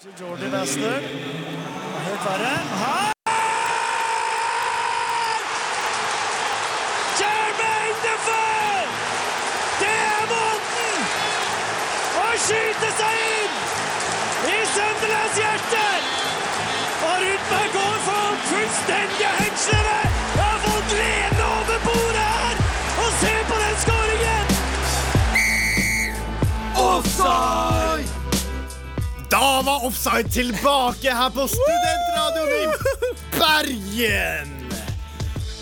til Jordi Wessler. Høyt verre. Her! Jermaine Defoe! Det er måten å skyte seg inn i Sunderlands hjerte! Og Rudberg går for fullstendig hengslere! Jeg har fått gleden over bordet her! Og se på den skåringen! Offside! Da var Offside tilbake her på Studentradioen i Bergen!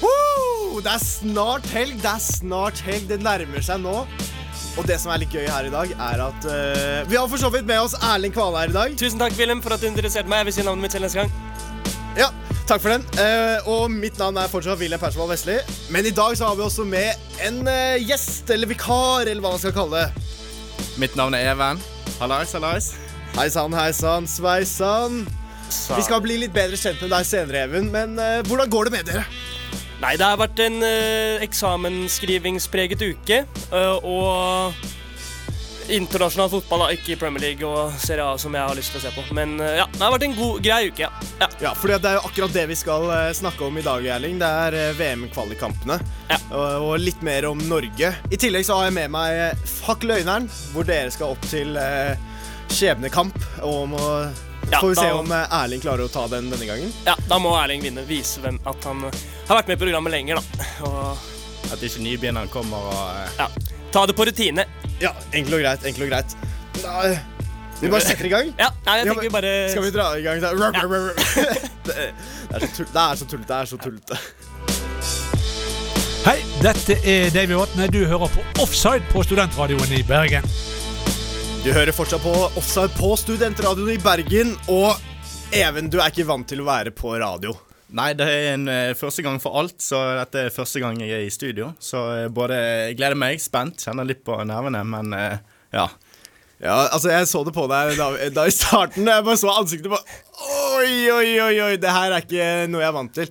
Woo! Det er snart helg, det er snart helg. Det nærmer seg nå. Og det som er litt gøy her i dag, er at eh, vi har for så vidt med oss Erling Kvale her i dag. Tusen takk, Willem, for at du interesserte meg. Jeg vil si navnet mitt til neste gang. Ja, takk for den. Eh, og mitt navn er fortsatt Wilhelm Persvold Vestli. Men i dag så har vi også med en eh, gjest, eller vikar, eller hva man skal kalle det. Mitt navn er Even. Hallais, hallais. Hei sann, hei sann, sveisann. Vi skal bli litt bedre kjent med deg senere, Even. Men eh, hvordan går det med dere? Nei, det har vært en eh, eksamensskrivingspreget uke. eh, og internasjonal fotball, da. Ikke Premier League og Serie A, som jeg har lyst til å se på. Men eh, ja, det har vært en god, grei uke, ja. ja. Ja, for det er jo akkurat det vi skal eh, snakke om i dag, Erling. Det er eh, VM-kvalikkampene. Ja. Og, og litt mer om Norge. I tillegg så har jeg med meg eh, Fuck løgneren, hvor dere skal opp til eh, skjebnekamp. Og om å Ja, Får vi se da- om eh, Erling klarer å ta den denne gangen. ja da må Erling vinne. Vise hvem at han eh, har vært med i programmet lenger, da. Og At ikke nybegynneren kommer og eh, ja. Ta det på rutine. Ja, enkelt og greit, enkelt og greit. Da, eh, vi bare setter i gang. Ja, nei, jeg Ja, tenker men vi bare Skal vi dra i gang? Da? Det, det er så tull- det er så tullete, det er så tullete. Hei, dette er Davy Vatne. Du hører på Offside på Studentradioen i Bergen. Du hører fortsatt på Offside på Studentradioen i Bergen. Og Even, du er ikke vant til å være på radio. Nei, det er en eh, første gang for alt, så dette er første gang jeg er i studio. Så eh, både jeg gleder meg, spent, kjenner litt på nervene, men eh, ja. Ja, altså jeg så det på deg da, da i starten. Jeg bare så ansiktet på Oi, oi, oi, oi, det her er ikke noe jeg er vant til.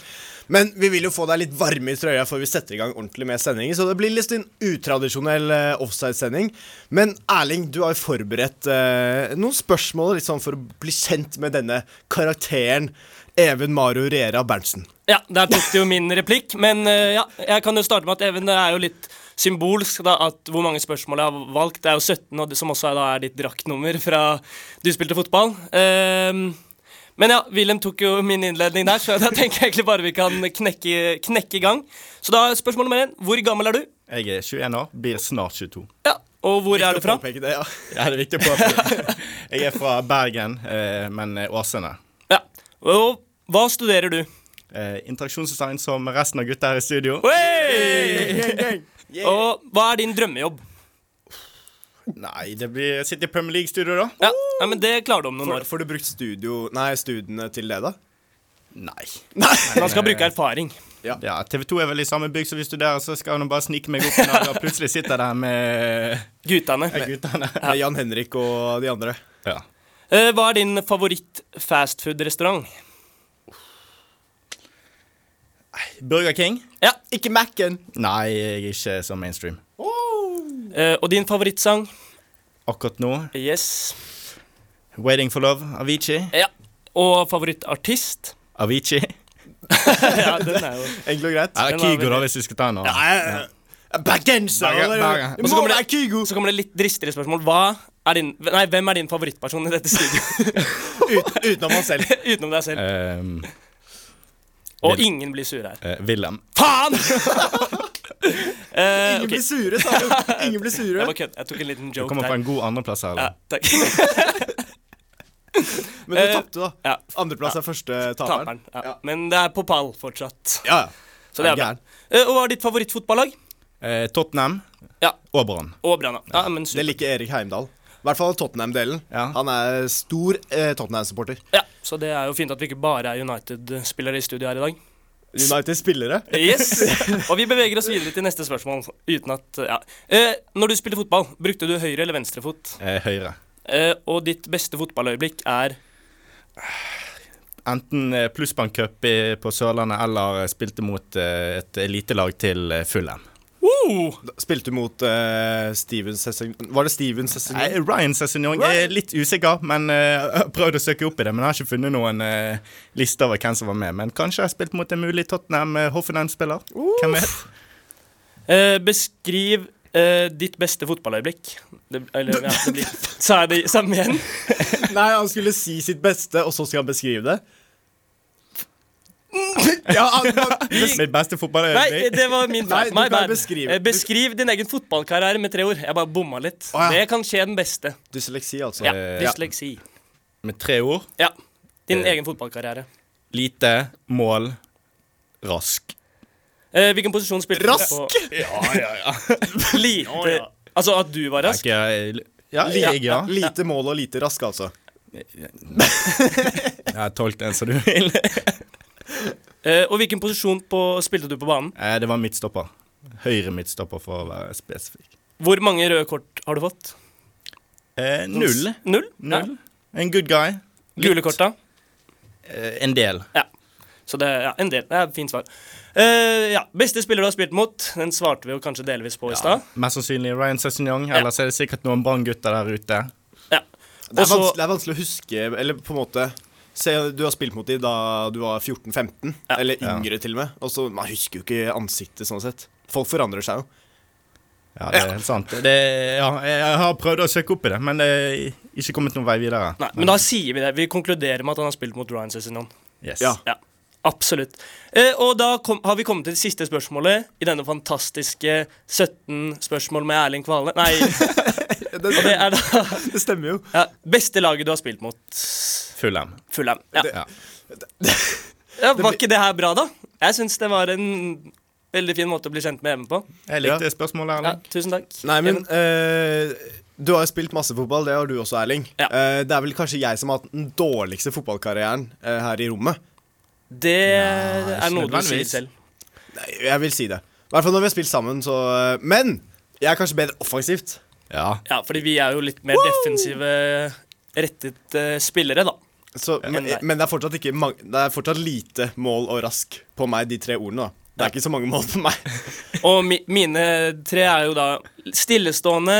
Men vi vil jo få deg litt varme i trøya før vi setter i gang ordentlig med sendingen. Så det blir litt en utradisjonell eh, offside-sending. Men Erling, du har jo forberedt eh, noen spørsmål litt sånn for å bli kjent med denne karakteren Even Mario Riera Berntsen. Ja, der tok du jo min replikk, men eh, ja, jeg kan jo starte med at Even, det er jo litt symbolsk da, at hvor mange spørsmål jeg har valgt. Det er jo 17, og det som også er, da, er ditt draktnummer fra du spilte fotball. Ehm, men ja, Wilhelm tok jo min innledning der, så da tenker jeg egentlig bare vi kan knekke, knekke i gang. Så da er spørsmål nummer én, hvor gammel er du? Jeg er 21 år, blir snart 22. Ja, og hvor er du fra? Påpeke Det, ja. Ja, det er viktig å påpeke. Jeg er fra Bergen, eh, men eh, Åsane. Ja, og hva studerer du? Eh, Interaksjonsdesign som resten av gutta her i studio. Hey! Og hva er din drømmejobb? Nei, det blir sitte i Premier League-studio, da. Ja, ja, men det klarer du om noen Får, år. får du brukt studio, nei, studiene til det, da? Nei. Man skal bruke erfaring. Ja, TV 2 er vel i samme bygg som vi studerer, så skal jeg nå bare snike meg opp en dag, og plutselig sitter jeg der med Guttene. med guttene. Med Jan Henrik og de andre. Ja. Eh, hva er din favoritt-fastfood-restaurant? Burger King? Ja. Ikke Mac-en. Nei, jeg er ikke så mainstream. Eh, og din favorittsang? Akkurat nå Yes. 'Waiting for Love' Avicii. Ja. Og favorittartist? Avicii? ja, den er jo Enkelt og greit. Eller Den var Kygo, da, veldig- hvis vi skal ta en annen. Nei, Bergenser! Bergen- eller- Bergen. Det Og så må kommer være det- Kygo! Så kommer det litt dristigere spørsmål. Hva er din, nei, hvem er din favorittperson i dette studioet? Ut, utenom han selv. Utenom deg selv. Ehm, Og ingen blir sure her. eh, Wilhelm. Faen! Eh, Ingen ok, blir sure, sa du. Ingen blir jeg sure. var kødd. Jeg tok en liten Du joke kommer på der. en god andreplass her. Ja, eller? takk. Men du Eh, tapte, da. Ja, Andreplass er første taperen. taperen. Ja. Men det er på pall fortsatt. Ja, ja. Så det er bra. Gæren. Eh, og hva er ditt favorittfotballag? Eh, Tottenham Ja. og Brann. Og Brann. Ja, men Det super. liker Erik Heimdal. I hvert fall Tottenham-delen. Ja. Han er stor eh, Tottenham-supporter. Ja, så det er jo fint at vi ikke bare er United-spillere i studio her i dag. United-spillere. Yes, Og vi beveger oss videre til neste spørsmål. Uten at, ja. eh, når du spilte fotball, brukte du høyre- eller venstrefot? Eh, høyre. Eh, og ditt beste fotballøyeblikk er Enten eh, plussbankcup i- på Sørlandet eller eh, spilte mot eh, et elitelag til eh, Fulham. Uh, Spilte du mot eh, Steven Sessing... Var det Steven Sessing? Nei, Eh, Ryan Sessignon er litt usikker, men eh, jeg har prøvd å søke opp i det. Men jeg har ikke funnet noen eh, liste over hvem som var med. Men kanskje jeg har spilt mot en mulig Tottenham eh, Hoffenheim-spiller. Hvem vet? eh, beskriv eh, ditt beste fotballøyeblikk. Det, eller, ja, det blir, så er det samme igjen. Nei, han skulle si sitt beste, og så skal han beskrive det. Ja, han, Mitt beste Nei, fotballøyeblikk. det var Nei, min feil. du My kan bad. beskrive. Eh, Beskriv din egen fotballkarriere med tre ord. Jeg bare bomma litt. Å, ja. Det kan skje den beste. Dysleksi, altså. Ja, Eh, ja. Dysleksi. Med tre ord. Ja. Din Eh. egen fotballkarriere. Lite, mål, rask. Eh, hvilken posisjon spilte Rask! du på? Ja, ja, ja. Lite ja. Altså at du var rask? ja, ja, jeg, ja. Lite mål og lite rask, altså. Jeg har tolk den som du vil. Eh, og hvilken posisjon på, spilte du på banen? Eh, Det var midtstopper. Høyre midtstopper, for å være spesifikk. Hvor mange røde kort har du fått? Eh, null. Null? Null. En good guy. Ja. Gule kort, da? Eh, en del. Ja. Så det er ja, en del. Det er et fint svar. Eh, ja. Beste spiller du har spilt mot? Den svarte vi jo kanskje delvis på i stad. Mest sannsynlig Ryan Sessignon, Ja. ellers er det sikkert noen Brann-gutter der ute. Ja. Det er, Og så- vanskelig, det er vanskelig å huske Eller på en måte Se, du har spilt mot dem da du var 14-15, Ja. eller yngre til og med. Og så, Man husker jo ikke ansiktet sånn sett. Folk forandrer seg jo. Ja, det er helt sant. Det, ja, jeg har prøvd å søke opp i det, men det er ikke kommet noen vei videre. Nei, men da sier vi det. Vi konkluderer med at han har spilt mot Ryan Cessinon. Yes. Ja. Ja, absolutt. Eh, og da kom, har vi kommet til det siste spørsmålet i denne fantastiske 17 spørsmål med Erling Kvale. Nei, Det, og det er da stemmer jo. ja, Beste laget du har spilt mot? Fulham. Fulham. Ja. Ja. Ja, var ikke det her bra, da? Jeg syns det var en veldig fin måte å bli kjent med Even på. Jeg likte spørsmålet, Ja, Erling. tusen takk. Nei, men Even. eh, Du har jo spilt masse fotball, det har du også, Erling. Ja. Eh, det er vel kanskje jeg som har hatt den dårligste fotballkarrieren eh, her i rommet. Det Nei, er noe du sier nødvendigvis. selv. Nei, Jeg vil si det. I hvert fall når vi har spilt sammen, så eh, Men jeg er kanskje bedre offensivt. Ja. Ja, fordi vi er jo litt mer defensive rettet eh, spillere, da. Så, men, nei. men det er fortsatt ikke mang Det er fortsatt lite mål og rask på meg, de tre ordene. da Det er ikke så mange mål på meg. Og mi, mine tre er jo da stillestående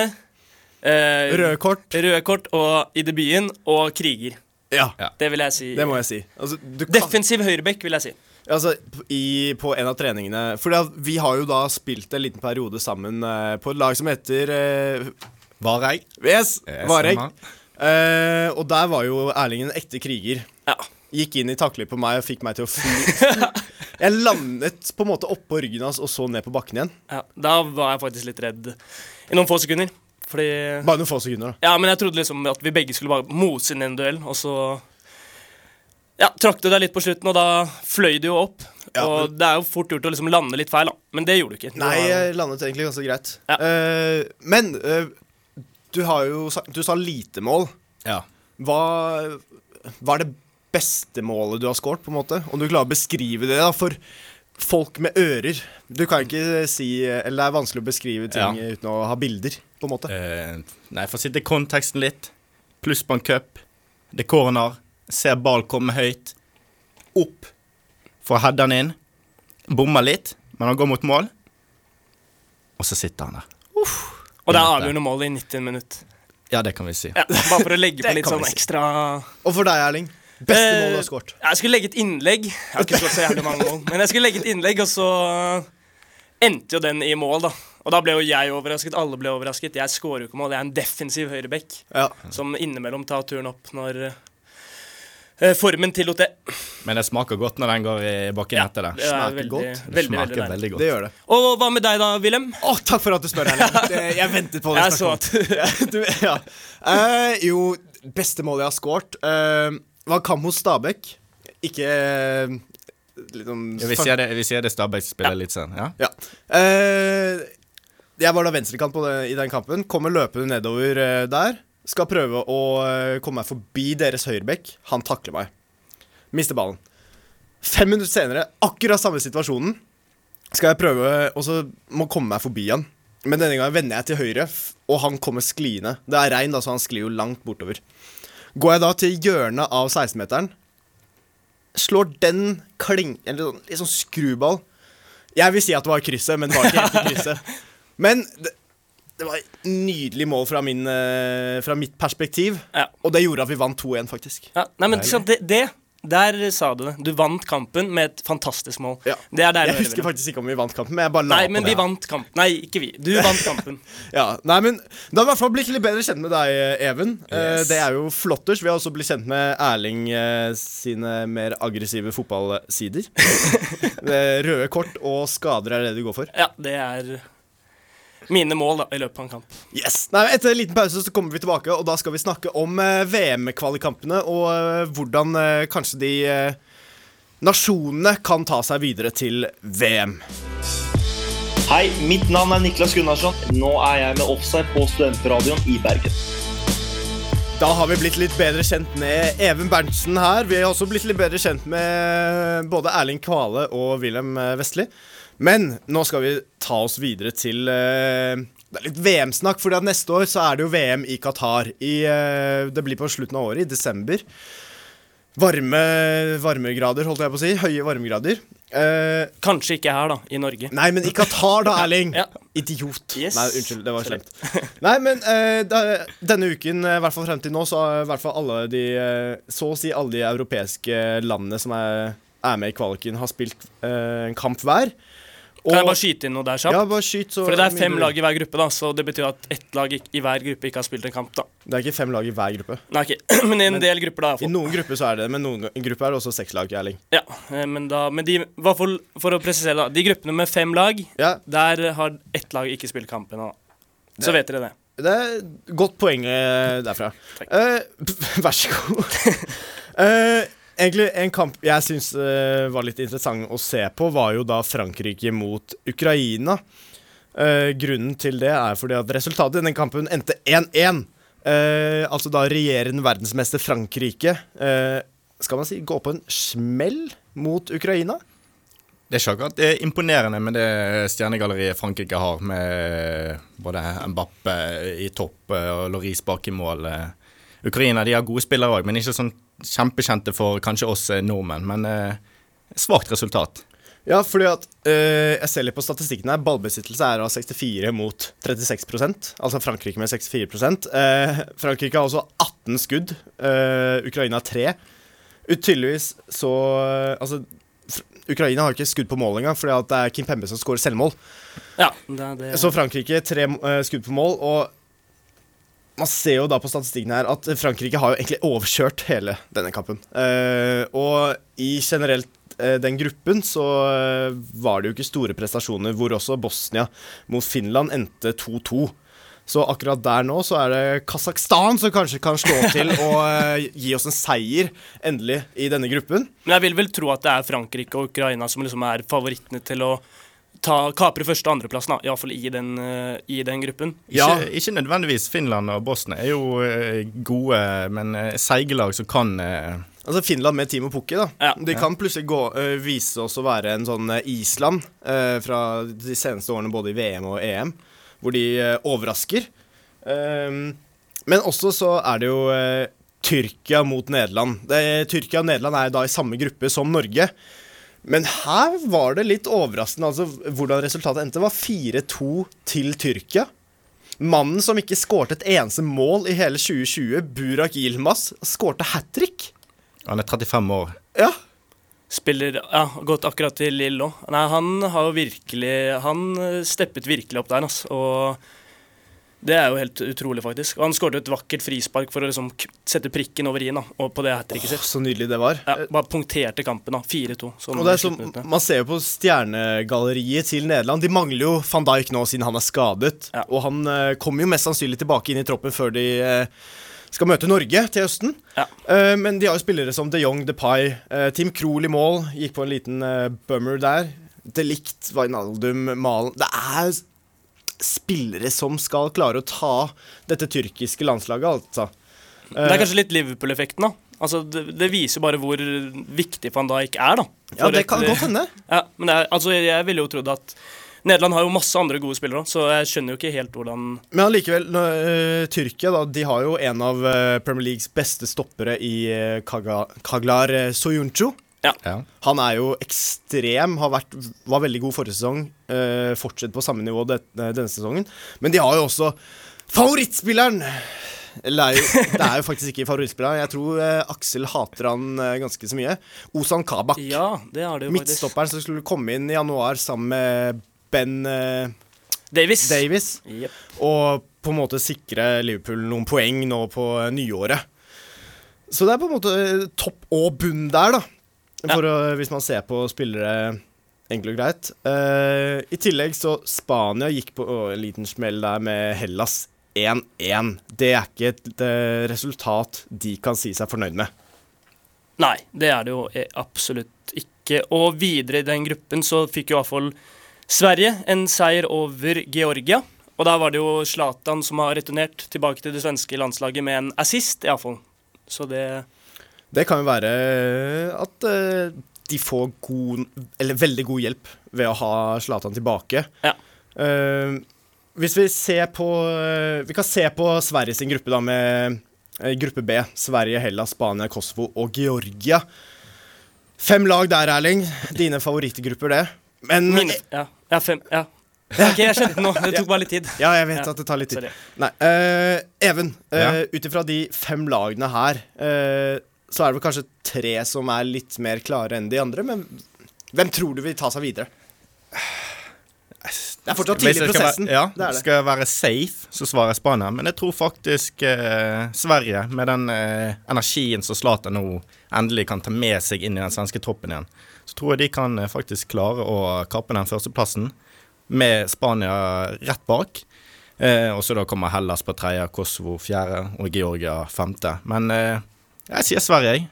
eh, Røde kort. Røde kort og i debuten og kriger. Ja, Ja. Det vil jeg si. det må jeg si. Altså, du kan, Defensiv høyrebekk, vil jeg si. altså, p- i, på en av treningene For da- vi har jo da spilt en liten periode sammen eh, på et lag som heter eh, Vareig. Yes, Yes, Varek. stemmer. Eh, og der var jo Erling en ekte kriger. Ja. Gikk inn i takler på meg og fikk meg til å fly. Jeg landet på en måte oppå ryggen hans og så ned på bakken igjen. ja. Da var jeg faktisk litt redd i noen få sekunder. Fordi Bare noen få sekunder, da. Ja, men jeg trodde liksom at vi begge skulle bare mose inn i en duell, og så ja, trakk du deg litt på slutten, og da fløy du jo opp. Ja, og det er jo fort gjort å liksom lande litt feil, da. Men det gjorde du ikke. Du Nei, var- jeg landet egentlig ganske greit. Ja. Eh, men eh, du har jo sa, Du sa lite mål. Ja. Hva, hva er det beste målet du har scoret, på en måte? Om du klarer å beskrive det, da, for folk med ører. Du kan ikke si Eller det er vanskelig å beskrive ting Ja. uten å ha bilder, på en måte. Eh, nei, for å sitte i konteksten litt. Pluss på en cup. Det er corner. Ser ball komme høyt. Opp. Får heada den inn. Bommer litt, men han går mot mål. Og så sitter han der. og det er avgjørende mål i 90 minutter. Ja, det kan vi si. Ja, bare for å legge på Det litt kan sånn vi si. ekstra Og for deg, Erling. Beste Eh, mål du har skåret. Jeg skulle legge et innlegg. Jeg har ikke slått så jævlig mange mål. Men jeg skulle legge et innlegg, og så endte jo den i mål, da. Og da ble jo jeg overrasket. Alle ble overrasket. Jeg skårer jo ikke mål. Jeg er en defensiv høyrebekk Ja. som innimellom tar turen opp når eh, formen tillot det. Men det smaker godt når den går i bakken Ja, etter det. det er smaker veldig, godt. Det veldig, smaker veldig deilig. veldig godt. Det gjør det. Og hva med deg da, Wilhelm? Å, takk for at du spør, Erling. Det- Jeg ventet på det. Jeg så at du spørsmålet. du, ja. Eh, jo, beste mål jeg har skåret, eh, var kamp mot Stabæk. Ikke eh, litt sånn- Ja, vi sier det, vi sier det Stabæk spiller litt sånn. Ja. Ja. Eh, jeg var da venstrekant på den- i den kampen. Kommer løpende nedover eh, der. Skal prøve å eh, komme meg forbi deres høyrebekk. Han takler meg. Mister ballen. Fem minutter senere, akkurat samme situasjonen, skal jeg prøve Og så må komme meg forbi han. Men denne gangen vender jeg til høyre, f- og han kommer skliende. Det er regn, da, så han sklir jo langt bortover. Går jeg da til hjørnet av 16-meteren, slår den kling... Eller sånn- litt sånn skruball Jeg vil si at det var krysset, men det var ikke helt i krysset. Men det, det var et nydelig mål fra, min, eh, fra mitt perspektiv, Ja. og det gjorde at vi vant 2-1, faktisk. Ja, nei, men så det, det Der sa du det. Du vant kampen med et fantastisk mål. Ja. Det er deilig Jeg husker faktisk ikke om vi vant kampen, men jeg bare la Nei, på men det. vi vant kampen. Nei, ikke vi. Du vant kampen. Ja, nei, men Da har vi i hvert fall blitt litt bedre kjent med deg, Even. Eh, det er jo flotters. Vi har også blitt kjent med Erling eh, sine mer aggressive fotballsider. det røde kort og skader er det du går for. Ja, det er mine mål da, i løpet av en kamp. Yes! Nei, men Etter en liten pause så kommer vi tilbake, og da skal vi snakke om eh, VM-kvalikkampene og eh, hvordan eh, kanskje de eh, nasjonene kan ta seg videre til VM. Hei, mitt navn er Niklas Gunnarsson. Nå er jeg med Offside på Studentradioen i Bergen. Da har vi blitt litt bedre kjent med Even Berntsen her. Vi har også blitt litt bedre kjent med både Erling Kvale og Wilhelm eh, Vestli. Men nå skal vi ta oss videre til eh, Det er litt VM-snakk, fordi at neste år så er det jo VM i Qatar. I, eh, det blir på slutten av året, i desember. Varme varmegrader, holdt jeg på å si. Høye varmegrader. Eh, Kanskje ikke her, da, i Norge. Nei, men i Qatar, da, Erling. Ja. Idiot. Yes. Nei, unnskyld. Det var Sorry. slemt. Nei, men eh, da, denne uken, eh, i hvert fall frem til nå, så har i hvert fall alle de eh, Så å si alle de europeiske landene som er, er med i kvaliken, har spilt eh, en kamp hver. Kan jeg bare skyte inn noe der Ja, kjapt? bare skyt, så For det er fem mindre- lag i hver gruppe, da, så det betyr at ett lag i- i hver gruppe ikke har spilt en kamp, da. Det er ikke fem lag i hver gruppe. Nei, ok, men i en del grupper, da. i hvert I fall. noen grupper så er det det, men noen grupper er det også seks lag, Erling. Ja, eh, men da Men de, i hvert fall for å presisere, da. De gruppene med fem lag, Ja, der har ett lag ikke spilt kamp ennå. da. Så vet dere det. Det er et godt poeng eh, derfra. Eh, vær så god. Eh, egentlig en kamp jeg syns eh, var litt interessant å se på, var jo da Frankrike mot Ukraina. Eh, grunnen til det er fordi at resultatet i den kampen endte 1-1. Eh, altså da regjerende verdensmester Frankrike eh, skal man si gå på en smell mot Ukraina? Det er ikke akkurat det er imponerende med det stjernegalleriet Frankrike har, med både Mbappe i topp eh, og Loris bak i mål. eh. Ukraina de har gode spillere òg, men ikke sånn kjempekjente for kanskje oss eh, nordmenn. Men eh, svakt resultat. Ja, fordi at eh, Jeg ser litt på statistikken her. Ballbesittelse er av 64 mot 36 Altså Frankrike med 64 Eh, Frankrike har også 18 skudd. eh, Ukraina 3. Ut- Tydeligvis så eh, Altså, Fr- Ukraina har ikke skudd på mål engang, fordi at det er Kim Pembe som skårer selvmål. Ja, det, er det. Så Frankrike tre eh, skudd på mål, og man ser jo da på statistikken her at Frankrike har jo egentlig overkjørt hele denne kampen. Eh, og i generelt eh, den gruppen så eh, var det jo ikke store prestasjoner, hvor også Bosnia mot Finland endte 2-2. Så akkurat der nå så er det Kasakhstan som kanskje kan slå til og eh, gi oss en seier, endelig, i denne gruppen. Men jeg vil vel tro at det er Frankrike og Ukraina som liksom er favorittene til å ta, kapre første- og andreplassen, da. iallfall i, den, eh, i den gruppen. Ja. Ikke, ikke nødvendigvis Finland og Bosnia er jo eh, gode, men eh, seige lag som kan eh, Altså Finland med Timo Pukki, da. Ja. De kan plutselig gå, ø, vise oss å være en sånn ø, Island ø, fra de seneste årene, både i VM og EM, hvor de ø, overrasker. Ehm, men også så er det jo ø, Tyrkia mot Nederland. Det, Tyrkia og Nederland er da i samme gruppe som Norge. Men her var det litt overraskende altså, hvordan resultatet endte. Det var 4-2 til Tyrkia. Mannen som ikke skårte et eneste mål i hele 2020, Burak Yilmaz, skårte hat trick. Han er 35 år. Ja. Spiller Ja, gått akkurat til Lille òg. Nei, han har jo virkelig Han eh, steppet virkelig opp der, altså. Og det er jo helt utrolig, faktisk. Og han skåret et vakkert frispark for å liksom k- sette prikken over i-en, da. Og på det hat tricket sitt. Så nydelig det var. Ja, bare punkterte kampen, da. 4-2. så Og det er slutten som, minuttene. Man ser jo på stjernegalleriet til Nederland. De mangler jo van Dijk nå, siden han er skadet. Ja. Og han eh, kommer jo mest sannsynlig tilbake inn i troppen før de eh, skal møte Norge til høsten. Ja. Eh, men de har jo spillere som De Jong, De Pai, Tim Krohl i mål. Gikk på en liten eh, bummer der. De Ligt, Wijnaldum, Malen Det er s- spillere som skal klare å ta dette tyrkiske landslaget, altså. Det er kanskje litt Liverpool-effekten, da. Altså, det, det viser bare hvor viktig van Dijk er, da. Ja, For det et- kan godt hende. Ja, men det er, altså, jeg, jeg ville jo trodd at Nederland har jo masse andre gode spillere òg, så jeg skjønner jo ikke helt hvordan Men allikevel, nå, eh, Tyrkia da, de har jo en av eh, Premier Leagues beste stoppere i eh, Kaga, Kaglar uh, Soyuncu. Ja. Han er jo ekstrem, har vært, var veldig god forrige sesong. eh, fortsatt på samme nivå det, eh, denne sesongen. Men de har jo også favorittspilleren! Eller det er jo, det er jo faktisk ikke favorittspilleren. Jeg tror eh, Aksel hater han eh, ganske så mye. Ozan Kabak. Ja, det har det jo faktisk. midtstopperen som skulle komme inn i januar sammen med Ben eh, Davis. Davis. Jep. Og på en måte sikre Liverpool noen poeng nå på eh, nyåret. Så det er på en måte eh, topp og bunn der, da. For å, hvis man ser på spillere enkelt og greit. Eh, I tillegg så Spania gikk på å, en liten smell der med Hellas 1-1. Det er ikke et eh, resultat de kan si seg fornøyd med. Nei, det er det jo eh, absolutt ikke. Og videre i den gruppen så fikk jo iallfall Sverige en seier over Georgia. Og der var det jo Zlatan som har returnert tilbake til det svenske landslaget med en assist, iallfall. Så det Det kan jo være at eh, de får god, eller veldig god hjelp ved å ha Zlatan tilbake. Ja. Eh, hvis vi ser på eh, Vi kan se på Sverige sin gruppe, da, med eh, gruppe B. Sverige, Hellas, Spania, Kosovo og Georgia. Fem lag der, Erling. Dine favorittgrupper, det. Men Mine Ja, ja fem Ja. Ok, jeg skjønte det nå. Det tok bare litt tid. ja, jeg vet Ja, at det tar litt tid. sorry. Nei, eh, Even, uh, Ja. ut ifra de fem lagene her, eh, så er det vel kanskje tre som er litt mer klare enn de andre, men hvem tror du vil ta seg videre? Det er fortsatt Hvis tidlig jeg i skal prosessen. Være, ja, det er det. Skal jeg være safe, så svarer jeg Spania. Men jeg tror faktisk eh, Sverige, med den eh, energien som Zlatan nå endelig kan ta med seg inn i den svenske troppen igjen, så tror jeg de kan eh, faktisk klare å kappe den førsteplassen med Spania rett bak. Eh, og så da kommer Hellas på tredje, Kosovo fjerde og Georgia femte. Men eh, jeg sier Sverige, jeg.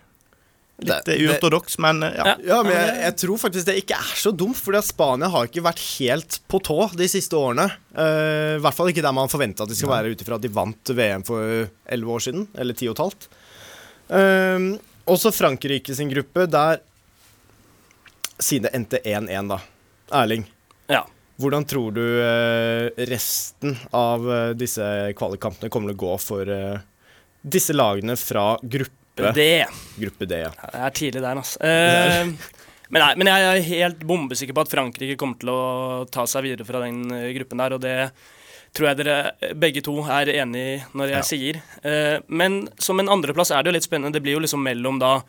Litt Det- eh, uortodoks, men eh, ja. Ja. Ja, men jeg, jeg tror faktisk det ikke er så dumt, for Spania har ikke vært helt på tå de siste årene. Eh, I hvert fall ikke der man forventa at de skal være, ut ifra at de vant VM for elleve år siden. Eller ti og et halvt. Eh, også Frankrike sin gruppe, der Siden det endte 1-1, da. Erling, Ja. hvordan tror du eh, resten av eh, disse kvalikkampene kommer til å gå for eh, disse lagene fra gruppe, Det gruppe D? Ja. Ja, Det er tidlig der, altså. Eh, men, nei, men jeg er helt bombesikker på at Frankrike kommer til å ta seg videre fra den eh, gruppen der, og det tror jeg dere eh, begge to er enig i når jeg sier. Eh, men som en andreplass er det jo litt spennende. Det blir jo liksom mellom da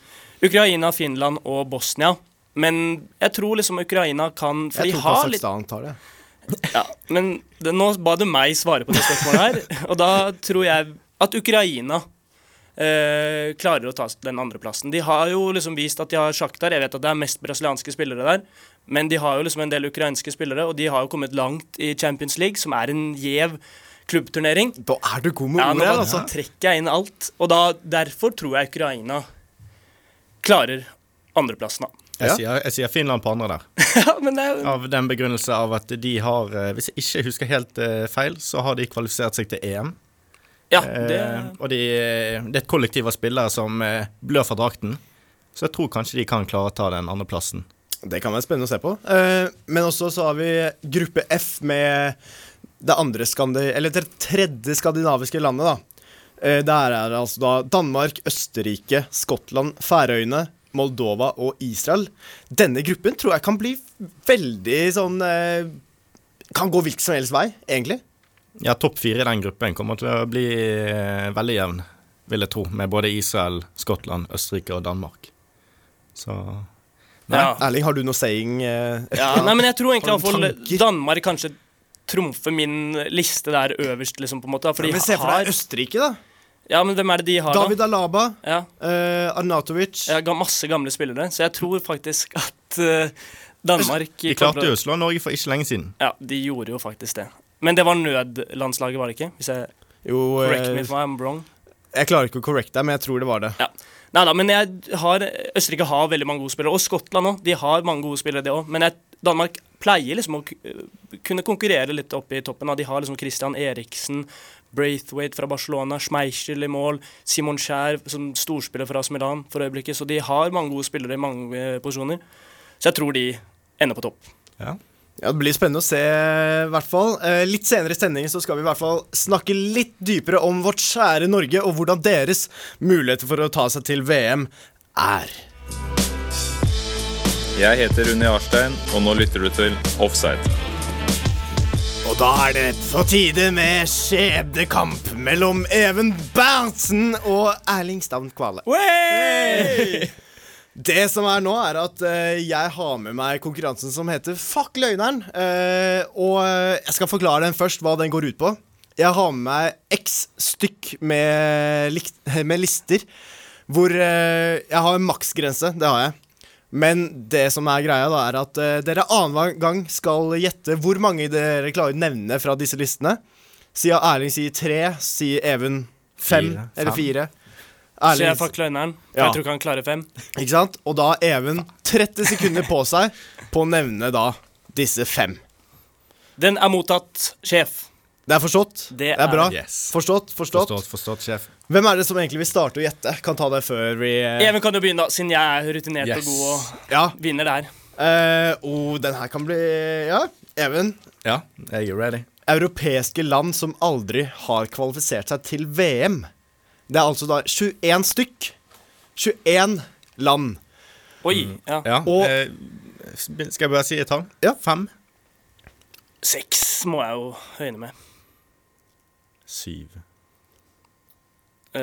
Ukraina, Finland og Bosnia. Men jeg tror liksom Ukraina kan For Jeg de tror har litt Kasakhstan tar det. ja, Men det, nå ba du meg svare på det spørsmålet her, og da tror jeg at Ukraina eh, klarer å ta den andreplassen. De har jo liksom vist at de har sjaktar. Jeg vet at det er mest brasilianske spillere der, men de har jo liksom en del ukrainske spillere, og de har jo kommet langt i Champions League, som er en gjev klubbturnering. Da er du god med Ja, nå ordet, bare altså. trekker jeg inn alt, og da, derfor tror jeg Ukraina klarer andreplassen, da. Ja. Jeg, sier, jeg sier Finland på andre der. Ja, men det er jo Av den begrunnelse av at de har eh, Hvis jeg ikke husker helt eh, feil, så har de kvalifisert seg til EM. Ja, Eh, det Og de, eh, det er et kollektiv av spillere som eh, blør for drakten. Så jeg tror kanskje de kan klare å ta den andreplassen. Det kan være spennende å se på. Eh, men også så har vi gruppe F med det andre skandi... Eller det tredje skandinaviske landet, da. Eh, der er det altså da Danmark, Østerrike, Skottland, Færøyene, Moldova og Israel. Denne gruppen tror jeg kan bli veldig sånn eh, Kan gå hvilken som helst vei, egentlig. Ja, topp fire i den gruppen kommer til å bli eh, veldig jevn, vil jeg tro, med både Israel, Skottland, Østerrike og Danmark. Så ja. Erling, har du noe saying? eh, Ja, nei, men jeg tror egentlig Har du iallfall tanker? Danmark kanskje trumfer min liste der øverst, liksom, på en måte. da, For de men se for deg har Østerrike, da. Ja, men hvem er det de har, David Alaba, da? Ja, eh, Arnatovic. jeg har ga- masse gamle spillere, så jeg tror faktisk at eh, Danmark de klarte jo å slå Norge for ikke lenge siden. Ja, de gjorde jo faktisk det. Men det var nødlandslaget, var det ikke? Hvis jeg Jo, correct me eh, if I'm wrong. jeg klarer ikke å correcte deg, men jeg tror det var det. Ja. Nei da, men jeg har, Østerrike har veldig mange gode spillere. Og Skottland òg. De har mange gode spillere, de òg. Men jeg, Danmark pleier liksom å ku- kunne konkurrere litt oppe i toppen. da. De har liksom Christian Eriksen, Braithwaite fra Barcelona, Schmeichel i mål, Simon Skjær som storspiller fra AS Milan for øyeblikket. Så de har mange gode spillere i mange eh, posisjoner. Så jeg tror de ender på topp. Ja, Det blir spennende å se, i hvert fall. Eh, litt senere i sendingen så skal vi i hvert fall snakke litt dypere om vårt kjære Norge, og hvordan deres muligheter for å ta seg til VM er. Jeg heter Unni Arstein, og nå lytter du til Offside. Og da er det på tide med skjebnekamp mellom Even Berntsen og Erling Stavn Kvale. Det som er nå, er at eh, jeg har med meg konkurransen som heter Fuck løgneren. Eh, og eh, jeg skal forklare den først, hva den går ut på. Jeg har med meg x stykk med, likt, med lister. Hvor eh, jeg har en maksgrense. Det har jeg. Men det som er greia, da, er at eh, dere annenhver gang skal gjette hvor mange dere klarer å nevne fra disse listene. Sier Erling sier tre, sier Even fem Fire. eller Fem. fire. Så jeg Erling, fuck løgneren. for Ja. Jeg tror ikke han klarer fem. ikke sant? Og da har Even 30 sekunder på seg på å nevne da disse fem. Den er mottatt, sjef. Det er forstått? Det er bra. er- Yes. Forstått, forstått, Forstått, forstått, sjef. Hvem er det som egentlig vil starte å gjette? Kan ta det før vi eh, Even kan jo begynne, da, siden jeg er rutinert og Yes. god og Ja. vinner der. Eh, oh, den her kan bli Ja, Even. Ja, jeg er ready. Europeiske land som aldri har kvalifisert seg til VM. Det er altså da 21 stykk. 21 land. Oi. ja. Ja, Og- eh, skal jeg bare si et tall? Ja. Fem? Seks må jeg jo høyne med. Syv. Eh,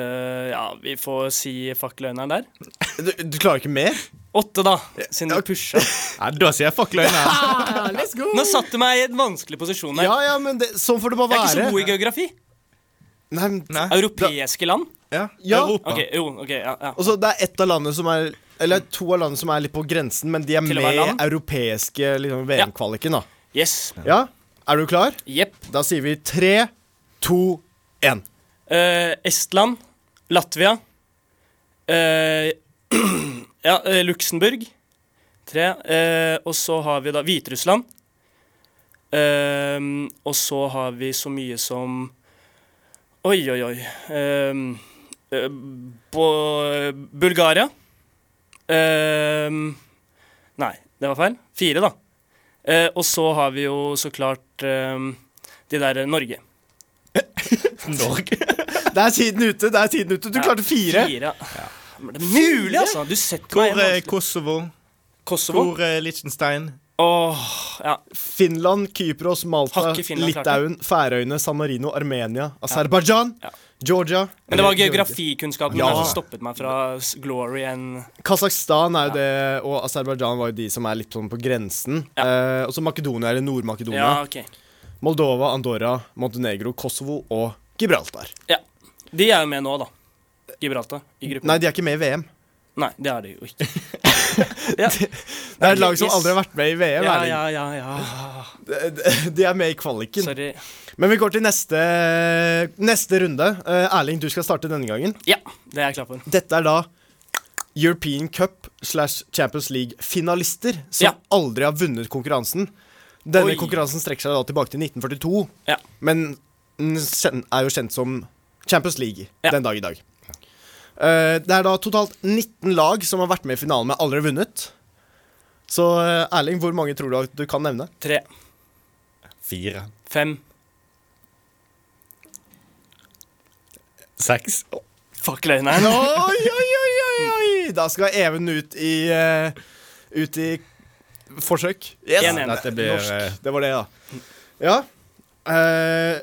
ja, vi får si fuck løgneren der. Du, du klarer ikke mer? Åtte, da, siden du ok. pusha. Ja, da sier jeg fuck løgner. Nå satte du meg i en vanskelig posisjon her. Ja, ja, men det, sånn får det bare jeg er være. ikke så god i geografi. Nei, men, Nei. Europeiske land? Ja. Ja. Europa. Ok, jo, ok, ja, ja. Og så det er ett av landene som er Eller to av landene som er litt på grensen, men de er Til å med i være land? europeiske liksom, VM-kvaliken, da. Yes. Ja? Er du klar? Jepp. Da sier vi tre, to, én. Eh, Estland. Latvia. eh, ja, eh, Luxembourg. Tre. eh, og så har vi da Hviterussland. Ehm, og så har vi så mye som Oi, oi, oi. Ehm, eh, Bo- Bulgaria. Ehm, nei, det var feil. Fire, da. Eh, og så har vi jo så klart ehm, de der Norge. Norge. Det er tiden ute! det er tiden ute Du Ja, klarte fire. Fire. Men det er mulig, altså! Du setter meg i en Hvor er vanskelig- Kosovo? Kosovo. Hvor er Liechtenstein? Åh, ja. Finland, Kypros, Malta, Har ikke Finland klart Litauen, Færøyene, San Marino, Armenia, Aserbajdsjan, Ja. Georgia Men det var geografikunnskapen Ja. som stoppet meg fra s- glory and Kasakhstan er jo det, og Aserbajdsjan var jo de som er litt sånn på grensen. Eh, og så Makedonia eller Nord-Makedonia. Ja, OK. Moldova, Andorra, Montenegro, Kosovo og Gibraltar. Ja. De er jo med nå, da. Gibraltar. I gruppen. Nei, de er ikke med i VM. Nei, det er de jo ikke. ja. Det er et lag som aldri har vært med i VM. Ja, Erling. ja, ja, ja. De- De er med i kvaliken. Sorry. Men vi går til neste, neste runde. Eh, Erling, du skal starte denne gangen. Ja, det er jeg klar for. Dette er da European Cup slash Champions League-finalister som Ja. aldri har vunnet konkurransen. Denne Oi. konkurransen strekker seg da tilbake til 1942, Ja. men den kjen- er jo kjent som Champions League Ja. den dag i dag. Eh, det er da totalt 19 lag som har vært med i finalen, men aldri vunnet. Så eh, Erling, hvor mange tror du at du kan nevne? Tre, Fire. fem Seks. Fuck løgneren. Oi, oi, oi, oi, oi Da skal Even ut i eh, Ut i forsøk yes. En, en. Dette blir, eh, Norsk, det var det da Ja eh,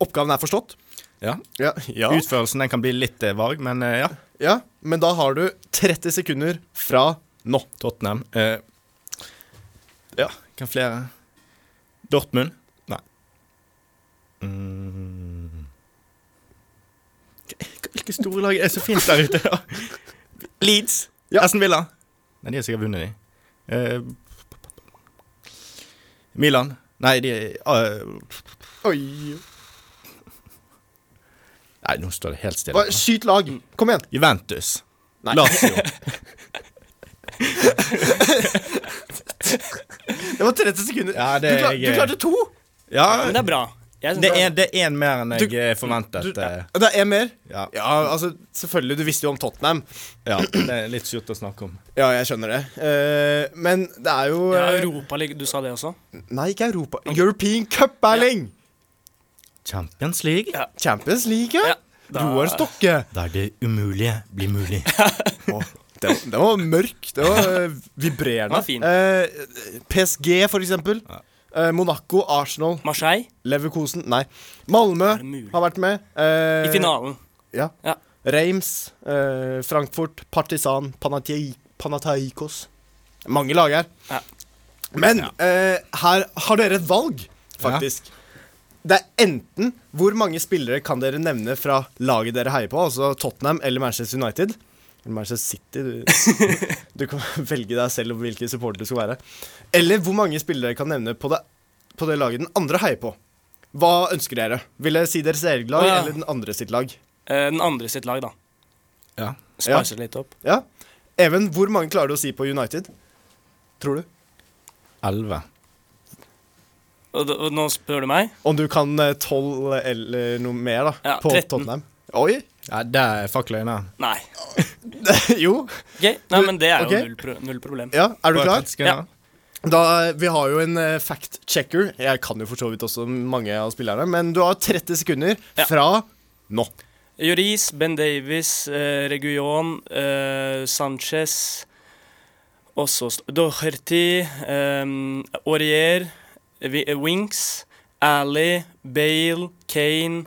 Oppgaven er forstått Ja. ja. Ja. Utførelsen den kan bli litt eh, varg, men eh, ja. ja Men da har du 30 sekunder fra nå Tottenham. Eh, ja, hvem flere? Dortmund? Nei. Mm. Hvilke store lag er så fint der ute? da? Leeds? Ja. Aston Villa? Nei, de har sikkert vunnet, de. Eh, Milan? Nei, de eh, Oi Nei, nå står det helt stille. Bare Skyt lag Kom igjen Juventus. Nei. Lazio. Det var 30 sekunder Ja, det du, klar, er du jeg- klarte to Ja, Men det er bra. Jeg synes det det er er bra. det er en mer enn jeg Du- eh, forventet. du- eh, Det er en mer ja. Ja, altså Selvfølgelig, du visste jo om Tottenham ja, det er litt surt å snakke om. Ja, jeg skjønner det Eh, Men det er jo Ja, eh, Europaligaen, du sa det også? Nei, ikke Europa. European Cup, Erling! Champions League? Champions League, ja. Ja, da- Roar Stokke. Der det umulige blir mulig. Å, Det, var- det var mørk. Det var eh, vibrerende. Den var fin. Eh, PSG, for eksempel. Eh, Monaco, Arsenal, Marseille Leverkusen Nei. Malmö det mulig? har vært med. Eh, i finalen. Ja. Ja. Reims, eh, Frankfurt, Partisan, Panathei- Panathinaikos. Mange lag her. Ja. Men eh, her har dere et valg, faktisk. Det er enten hvor mange spillere kan dere nevne fra laget dere heier på, altså Tottenham eller Manchester United. Eller Manchester City. Du, du kan velge deg selv om hvilken supporter du skal være. Eller hvor mange spillere dere kan nevne på det, på det laget den andre heier på. Hva ønsker dere? Vil dere si deres eget lag Å, ja. eller den andre sitt lag? Eh, Den andre sitt lag, da. Ja. Spicer litt opp. Ja. Even, hvor mange klarer du å si på United? Tror du? Elleve. Og, d- og nå spør du meg? Om du kan eh, tolv eller noe mer, da. Ja, på 13. Tottenham. Oi! Ja, det er fuck løgna. Nei. jo. Ok, Nei, men det er jo ok. null, pro null problem. Ja, er du Bare klar? 30 sekunder. Ja. Da, vi har jo en eh, fact checker. Jeg kan jo for så vidt også mange av spillerne, men du har 30 sekunder Ja. fra nå. Joris, Ben Davies, eh, Reguillon, eh, Sanchez også st- Doherty, eh, Aurier, Vi- eh, Winks, Ally, Bale, Kane,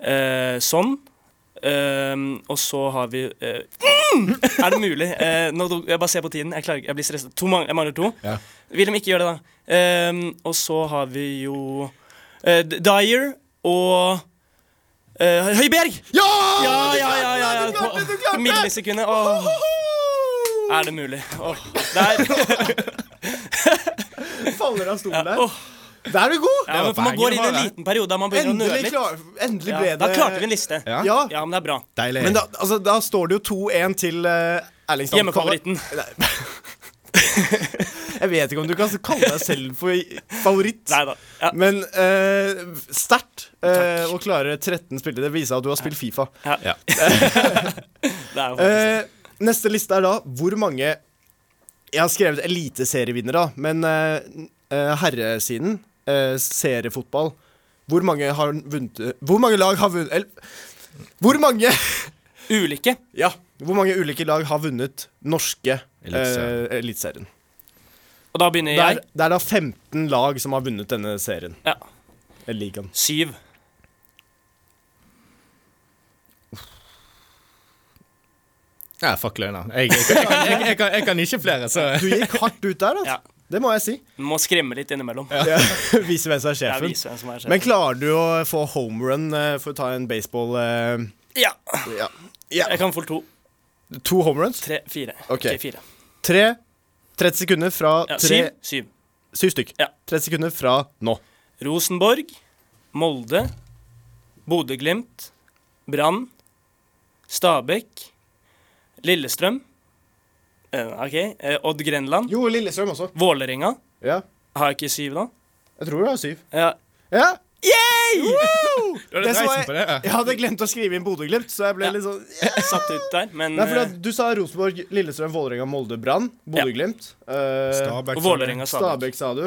eh, Son. Eh, og så har vi eh, mm! Er det mulig? Eh, nå, do- jeg bare ser på tiden. Jeg, klarer, ikke- jeg blir stresset. To mang jeg mangler to. Ja. Vil de ikke gjøre det, da? Eh, og så har vi jo eh, D- Dyer og eh, Høibjerg! Ja! Ja, ja, ja, ja, ja. Ah, Du klarte det! Du På klarte det! millisekundet. Åh, er det mulig? Åh, der. Faller av stolen der. Åh. Der er du god! Ja, men man går inn i en var det. liten periode der man begynner å nøle Endelig, litt. klar, endelig ble Ja, det da klarte vi en liste. Ja, Ja, men det er bra. Deilig. Men da, altså, da står det jo 2-1 til eh, Erling Sand. Hjemmefavoritten. Jeg vet ikke om du kan kalle deg selv for favoritt. Nei da. Ja. Men uh, sterkt eh, å klare 13 spilte. Det viser at du har spilt Fifa. Ja. Ja. Det er jo faktisk- Eh, neste liste er da hvor mange Jeg har skrevet eliteserievinnere, da, men eh, eh, herresiden, eh, seriefotball Hvor mange har vunnet Hvor mange lag har vunnet eller, Hvor mange Eh, Ulike. Ja, hvor mange ulike lag har vunnet norske Eliteserien. eh, Eliteserien? Og da begynner Det, er- jeg. det er da 15 lag som har vunnet denne serien. Ja. Eller ligaen. Syv. Ja, fuck løgna. Jeg, jeg, jeg, kan- jeg, jeg, kan- jeg kan ikke flere, så Du gikk hardt ut der, altså. Ja. Det må jeg si. Må skremme litt innimellom. Vise hvem som er Jeg sjefen. viser hvem som er Men sjef. klarer du å få homerun eh, for å ta en baseball eh, Ja. ja. Jeg kan få to, To homeruns? tre, fire. Ok. Ok, fire. Tre 30 sekunder fra Ja, tre syv. Syv. Syv stykk. Ja. 30 sekunder fra nå. Rosenborg, Molde, Bodø-Glimt, Brann, Stabekk, Lillestrøm eh, OK. eh, Odd Grenland, Jo, Lillestrøm også. Vålerenga. Ja. Har jeg ikke syv, da? Jeg tror du har syv. Ja. Ja! Du hadde Det så dreisen jeg, på det, ja. jeg hadde glemt å skrive inn Bodø-Glimt, så jeg ble Ja. litt sånn Satt ut der, men Nei, fordi eh, at Du sa Rosenborg, Lillestrøm, Vålerenga, Molde, Brann. Bodø-Glimt. eh, Stabæk, og Vålerenga sa det. Stabæk, sa du.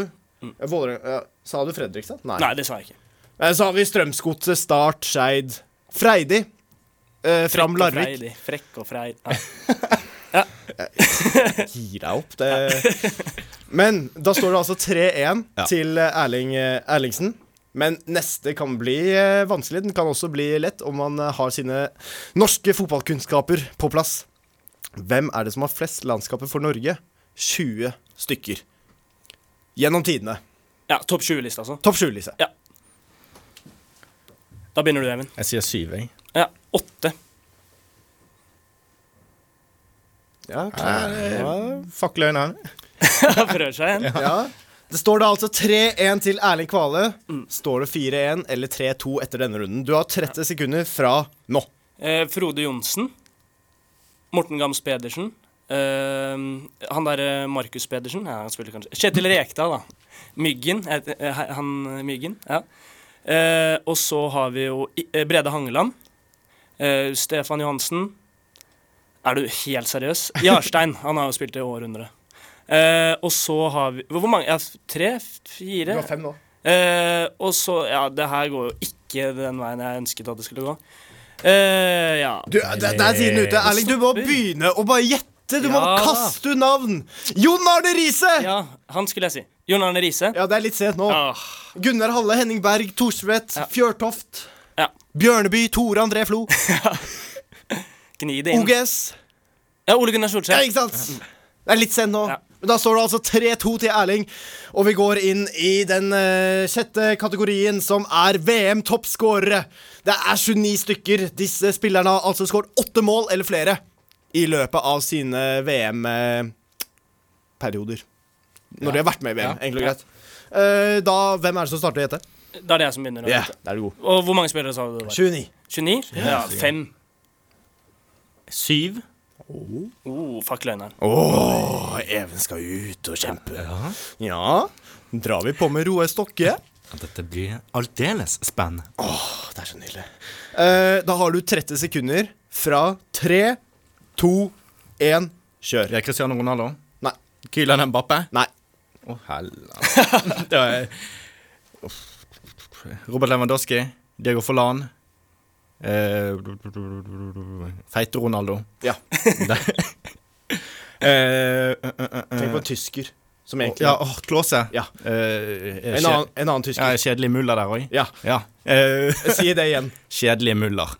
Eh, Vålerenga, ja, sa du Fredrikstad? Nei. Nei, det sa jeg ikke. Eh, Så har vi Strømsgodset, Start, Skeid. Freidig. Eh, fram Frekk og Larvik. freidig, Frekk og frei. Ja. Gir deg opp, det Men da står det altså 3-1 Ja. til eh, Erling eh, Erlingsen. Men neste kan bli eh, vanskelig. Den kan også bli lett om man eh, har sine norske fotballkunnskaper på plass. Hvem er det som har flest landskaper for Norge? 20 stykker. Gjennom tidene. Ja, Topp 20-liste, altså. Topp 20, Lise. Da begynner du, Even. Jeg sier syv, jeg. Ja, Åtte. Ja, Fuck løgna. Da Prøver seg igjen. ja. Det står da altså 3-1 til Erling Kvale. Står det 4-1 eller 3-2 etter denne runden? Du har 30 sekunder fra nå. Eh, Frode Johnsen. Morten Gams Pedersen. Eh, han derre Markus Pedersen ja, han spiller kanskje. Kjetil Rekdal, da. Myggen. eh, eh, Han eh, Myggen, ja. Eh, og så har vi jo I- eh, Brede Hangeland. Eh, Stefan Johansen. Er du helt seriøs? Jarstein. Han har jo spilt i århundret. Eh, og så har vi Hvor mange? Ja, tre? Fire? fem nå. Eh, og så Ja, det her går jo ikke den veien jeg ønsket at det skulle gå. Eh, ja. Du, der, der er tiden ute. Erling, du må begynne å bare gjette. rette! Du må Ja da. kaste navn! Jon Arne Riise! Ja. Ja, han skulle jeg si. Jon Arne Riise. det er litt sent nå. Ah, Gunnar Halle, Henning Berg, Thorstvedt, Ja. Fjørtoft. Ja. Bjørneby, Tore André Flo, gni det inn. OGS. Ja, Ole Gunnar Ja, Solskjær. ikke sant? Det er litt sent nå. Ja. Men da står det altså 3-2 til Erling, og vi går inn i den eh, sjette kategorien, som er VM-toppskårere. Det er 29 stykker. Disse spillerne har altså skåret åtte mål eller flere i løpet av sine VM-perioder. Når de har vært med i VM, Ja. enkelt og greit. Eh, da, hvem er det som starter å gjette? Da er det jeg som begynner. å vite. Da er du god. Og hvor mange spillere sa du det var? 29. 29? Ja, fem. Syv. Oh, fuck løgneren. Åh, Even skal ut og kjempe. Ja, Drar vi på med Roar Stokke? Dette blir aldeles spennende. Det er så nydelig. Eh, da har du 30 sekunder fra 3, 2, 1, kjør. Det er Cristiano Ronaldo. Nei. Kylian Mbappé. Nei. Å, helvete. det er Robert Lewandowski. Diego Forlan. Eh, Feite Ronaldo. Ja. Eh, eh, eh, eh, Tenk på en tysker som egentlig ja, åh, Klåse. Ja. Eh, eh, En, annen, en annen kje- ja, tysker. kjedelig muller der òg. Ja. Ja. Eh, Si det igjen. kjedelig muller.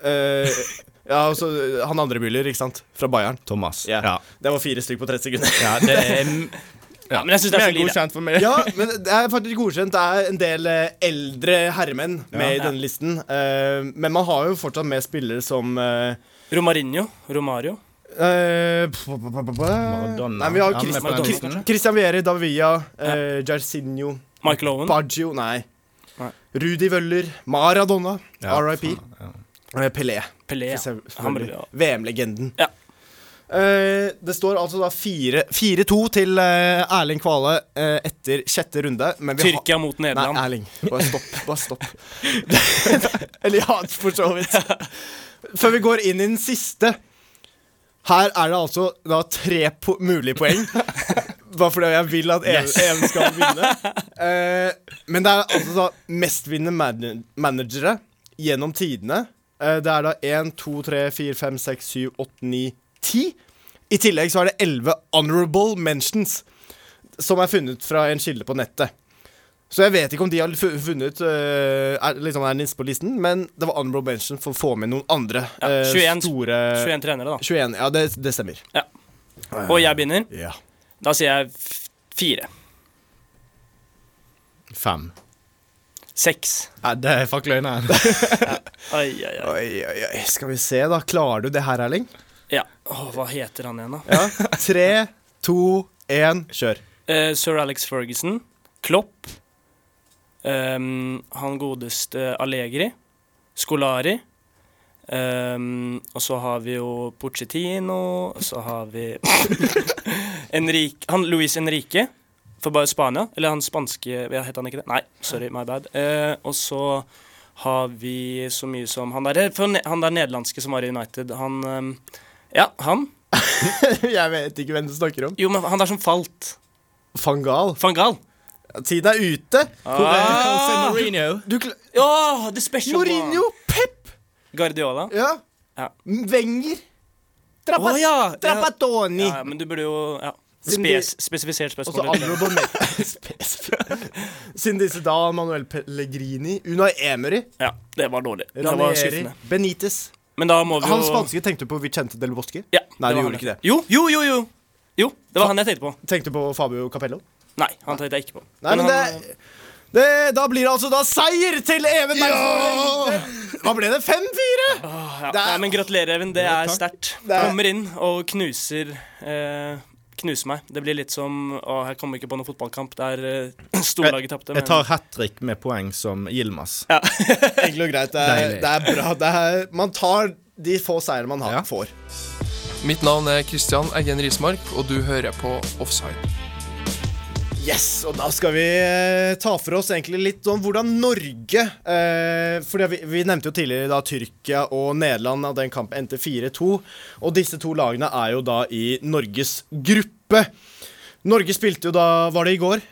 Eh, ja, og så han andre Müller, ikke sant? Fra Bayern. Thomas. Ja. Ja. Det var fire stykk på 30 sekunder. ja, det er ja. men jeg synes det er mer solide. godkjent for meg. Ja, men det er faktisk godkjent. Det er en del eh, eldre herremenn med i denne listen. Eh, men man har jo fortsatt med spillere som eh, Romarinho. Romario. Eh, p- p- p- p- Maradona. Nei, vi har Ja, Chris- men på Chris- den Chris- måten, ja. Christian Vieri, Davia, eh, Jairzinho, Michael Owen. Baggio Nei. Nei. Rudi Wøller, Maradona, Ja, RIP. Eh, Pelé. Pelé. selv- Ja. Han burde, ja. VM-legenden. Ja. Eh, det står altså da fire- 4-2 til eh, Erling Kvale eh, etter sjette runde. Men vi har- Tyrkia mot Nederland. Nei, Erling. Bare stopp. Bare stopp. Eller ja, for så vidt. Før vi går inn i den siste. Her er det altså da tre po mulige poeng. Bare fordi jeg vil at Even, Even skal vinne. Eh, men det er altså da mestvinnende man managere gjennom tidene. Eh, det er da 1, 2, 3, 4, 5, 6, 7, 8, 9, 10. I tillegg så er det 11 honorable mentions som er funnet fra en kilde på nettet. Så jeg vet ikke om de har fu- funnet øh, er, liksom er nisse på listen, men det var honorable mention for å få med noen andre Ja, øh, 21 store 21. 21 trenere, da. ja, det, det stemmer. Og jeg begynner. Ja. Da sier jeg f- fire. Fem. Seks. Ja, det er fuck løgneren. Ai, ai, ai. Oi, oi, oi. Skal vi se, da. Klarer du det her, Erling? Ja. Åh, hva heter han igjen, da? Ja. Tre, to, én, kjør. Eh, Sir Alex Ferguson, Klopp, ehm, han godeste Allegri, Scolari, ehm, og så har vi jo Pochettino, og så har vi Enrique, han Luis Enrique, for bare Spania, eller han spanske, ja, heter han ikke det? Nei, sorry, my bad. Eh, og så har vi så mye som han der, for ne- han der nederlandske som var i United, han, ehm, ja, han, jeg vet ikke hvem du snakker om. jo, men han der som falt, Van Gaal. Van Gaal. Tiden er ute. Ah. Ah. Jose Mourinho. Du kl Ja, the special Mourinho! Pep! one. Guardiola. Ja. Ja. Wenger. Å Trappa ja! ja. Trapattoni. ja, men du burde jo ja. Siden Altså, de- Spes spesifisert Og så spørsmål. honorable mention. Siden disse da, Manuel Pellegrini, Unai Emery, Ja, det var dårlig. Det var Ranieri, skuffende. Benitez Men da må vi jo Han spanske tenkte du på Vicente del Bosque. Ja, Nei, du var gjorde han. ikke det. Jo, jo, jo! Jo, Jo, det var han jeg tenkte på. Tenkte du på Fabio Capello? Nei, han tenkte jeg ikke på. Nei, men det, han, det Da blir det altså da seier til Even Bergstøl! Hva ble det? 5-4? ja. det er- Nei, men gratulerer, Even. Det er sterkt. Det er- Kommer inn og knuser eh, Knuser meg. Det blir litt som Å, jeg kommer ikke på noen fotballkamp der eh, storlaget tapte. Jeg tar hat trick med poeng som Yilmaz. Enkelt og greit. Det er, Deilig. det er bra. Det er, man tar de få seirene man har, Ja. får. Mitt navn er Kristian Eggen Rismark, og du hører på Offside. Yes, og da skal vi eh, ta for oss egentlig litt om hvordan Norge eh, For vi, vi nevnte jo tidligere da Tyrkia og Nederland at den kampen endte 4-2. Og disse to lagene er jo da i Norges gruppe. Norge spilte jo da Var det i går?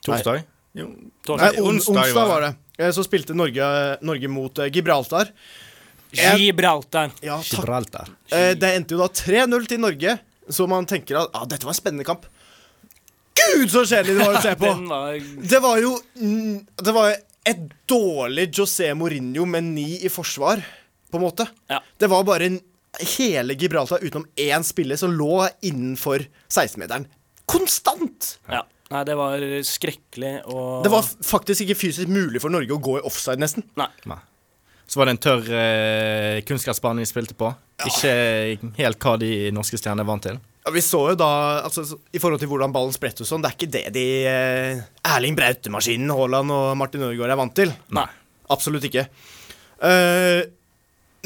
Torsdag? Jo. Nei, Torsdag. on, onsdag onsdag var var det. Eh, Så spilte Norge, Norge mot eh, Gibraltar. Gibraltar. Ja, takk. Gibraltar. Eh, Det endte jo da 3-0 til Norge, så man tenker at ah, dette var en spennende kamp. Gud, så kjedelig det var å se på! Den var Det var jo mm, Det var et dårlig José Mourinho med ni i forsvar, på en måte. Ja. Det var bare en, hele Gibraltar utenom én spiller som lå innenfor 16-meteren. Konstant! Ja. Nei, det var skrekkelig og Det var f- faktisk ikke fysisk mulig for Norge å gå i offside, nesten. Nei. Så var det en tørr eh, kunstgressbane de spilte på. Ikke helt hva de norske stjernene er vant til. Ja, vi så jo da, altså, så- I forhold til hvordan ballen spretter og sånn, det er ikke det de eh, Erling Brautemaskinen, Haaland og Martin Ødegaard er vant til. Nei. Absolutt ikke. Eh,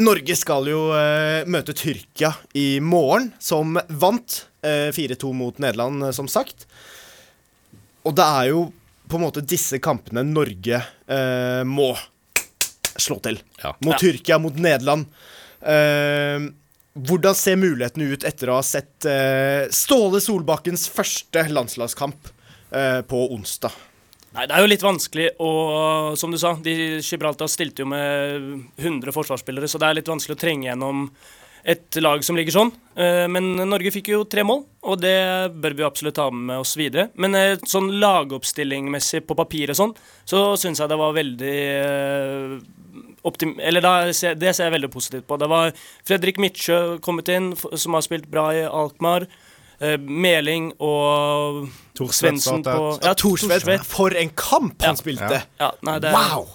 Norge skal jo eh, møte Tyrkia i morgen, som vant eh, 4-2 mot Nederland, eh, som sagt. Og det er jo på en måte disse kampene Norge eh, må slå til. Mot Ja. Tyrkia, mot Nederland. Eh, hvordan ser mulighetene ut etter å ha sett eh, Ståle Solbakkens første landslagskamp eh, på onsdag? Nei, det er jo litt vanskelig å Som du sa, de Gibraltar stilte jo med 100 forsvarsspillere, så det er litt vanskelig å trenge gjennom et lag som ligger sånn. Eh, Men Norge fikk jo tre mål, og det bør vi jo absolutt ta med oss videre. Men eh, sånn lagoppstillingmessig på papir og sånn, så syns jeg det var veldig eh, optim... Eller da, ser- det ser jeg veldig positivt på. Det var Fredrik Midtsjø kommet inn, f- som har spilt bra i Alkmaar. Eh, Meling og Thorsvedt Svendsen startet. på Ja, Thorsvedt. Thorsvedt. For en kamp han spilte! Ja. Ja, nei, det, Wow!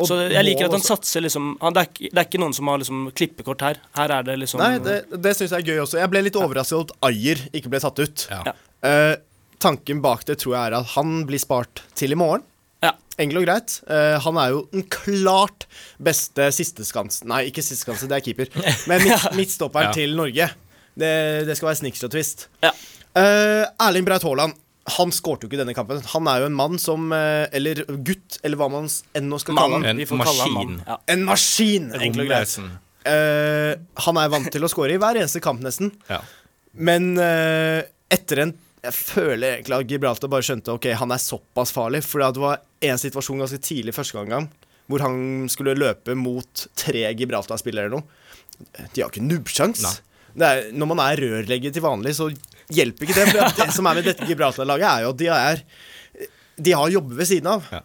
Og Så jeg liker at mål han satser liksom han, det, er, ikke- det er ikke noen som har liksom klippekort her. Her er det liksom Nei, det, det syns jeg er gøy også. Jeg ble litt overrasket over at Ayer ikke ble tatt ut. Ja. Eh, tanken bak det tror jeg er at han blir spart til i morgen. Ja. Enkelt og greit. Eh, han er jo den klart beste sisteskansen Nei, ikke sisteskanse, det er keeper. Men midt, midtstopperen til Norge. Det, det skal være snickers og twist. Ja. Eh, Erling Braut Haaland. Han skårte jo ikke denne kampen. Han er jo en mann som eh, Eller gutt, eller hva man s- enn nå skal kalle han. En vi får kalle han maskin. mann. Ja. En maskin! Enkelt og greit. Romlesen. Eh, han er vant til å skåre i hver eneste kamp, nesten. Ja. Men eh, etter en Jeg føler egentlig at Gibraltar bare skjønte Ok, han er såpass farlig. For det var en situasjon ganske tidlig første gangen hvor han skulle løpe mot tre Gibraltar-spillere eller noe. De har ikke nubbsjans. Det er, når man er rørlegger til vanlig, så hjelper ikke det. For at det som er med dette Gibraltar-laget, er jo at de er De har jobber ved siden av. Ja.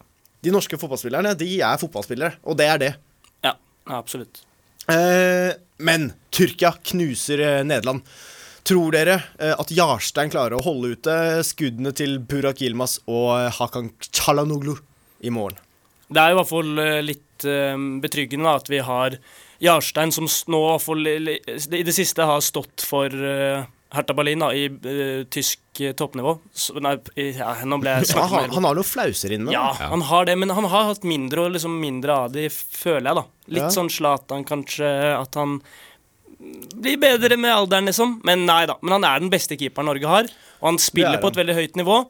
De norske fotballspillerne, de er fotballspillere, og det er det. Ja, ja, absolutt. Eh, men Tyrkia knuser eh, Nederland. Tror dere eh, at Jarstein klarer å holde ute eh, skuddene til Burak Yilmaz og eh, Hakan Chalanoglu i morgen? Det er i hvert fall eh, litt eh, betryggende da, at vi har Jarstein, som s- nå i hvert fall i- i det siste har stått for eh, Hertha Berlin da, i eh, tysk eh, toppnivå. Så, nei, i- ja, nå ble jeg Han, snakket har- mer. han har noen flauser inne. Ja, han har det, men han har hatt mindre og liksom mindre av det, føler jeg, da. Litt Ja. sånn Zlatan, kanskje, at han blir bedre med alderen, liksom. Men nei da. Men han er den beste keeperen Norge har, og han Det spiller er på et veldig høyt nivå.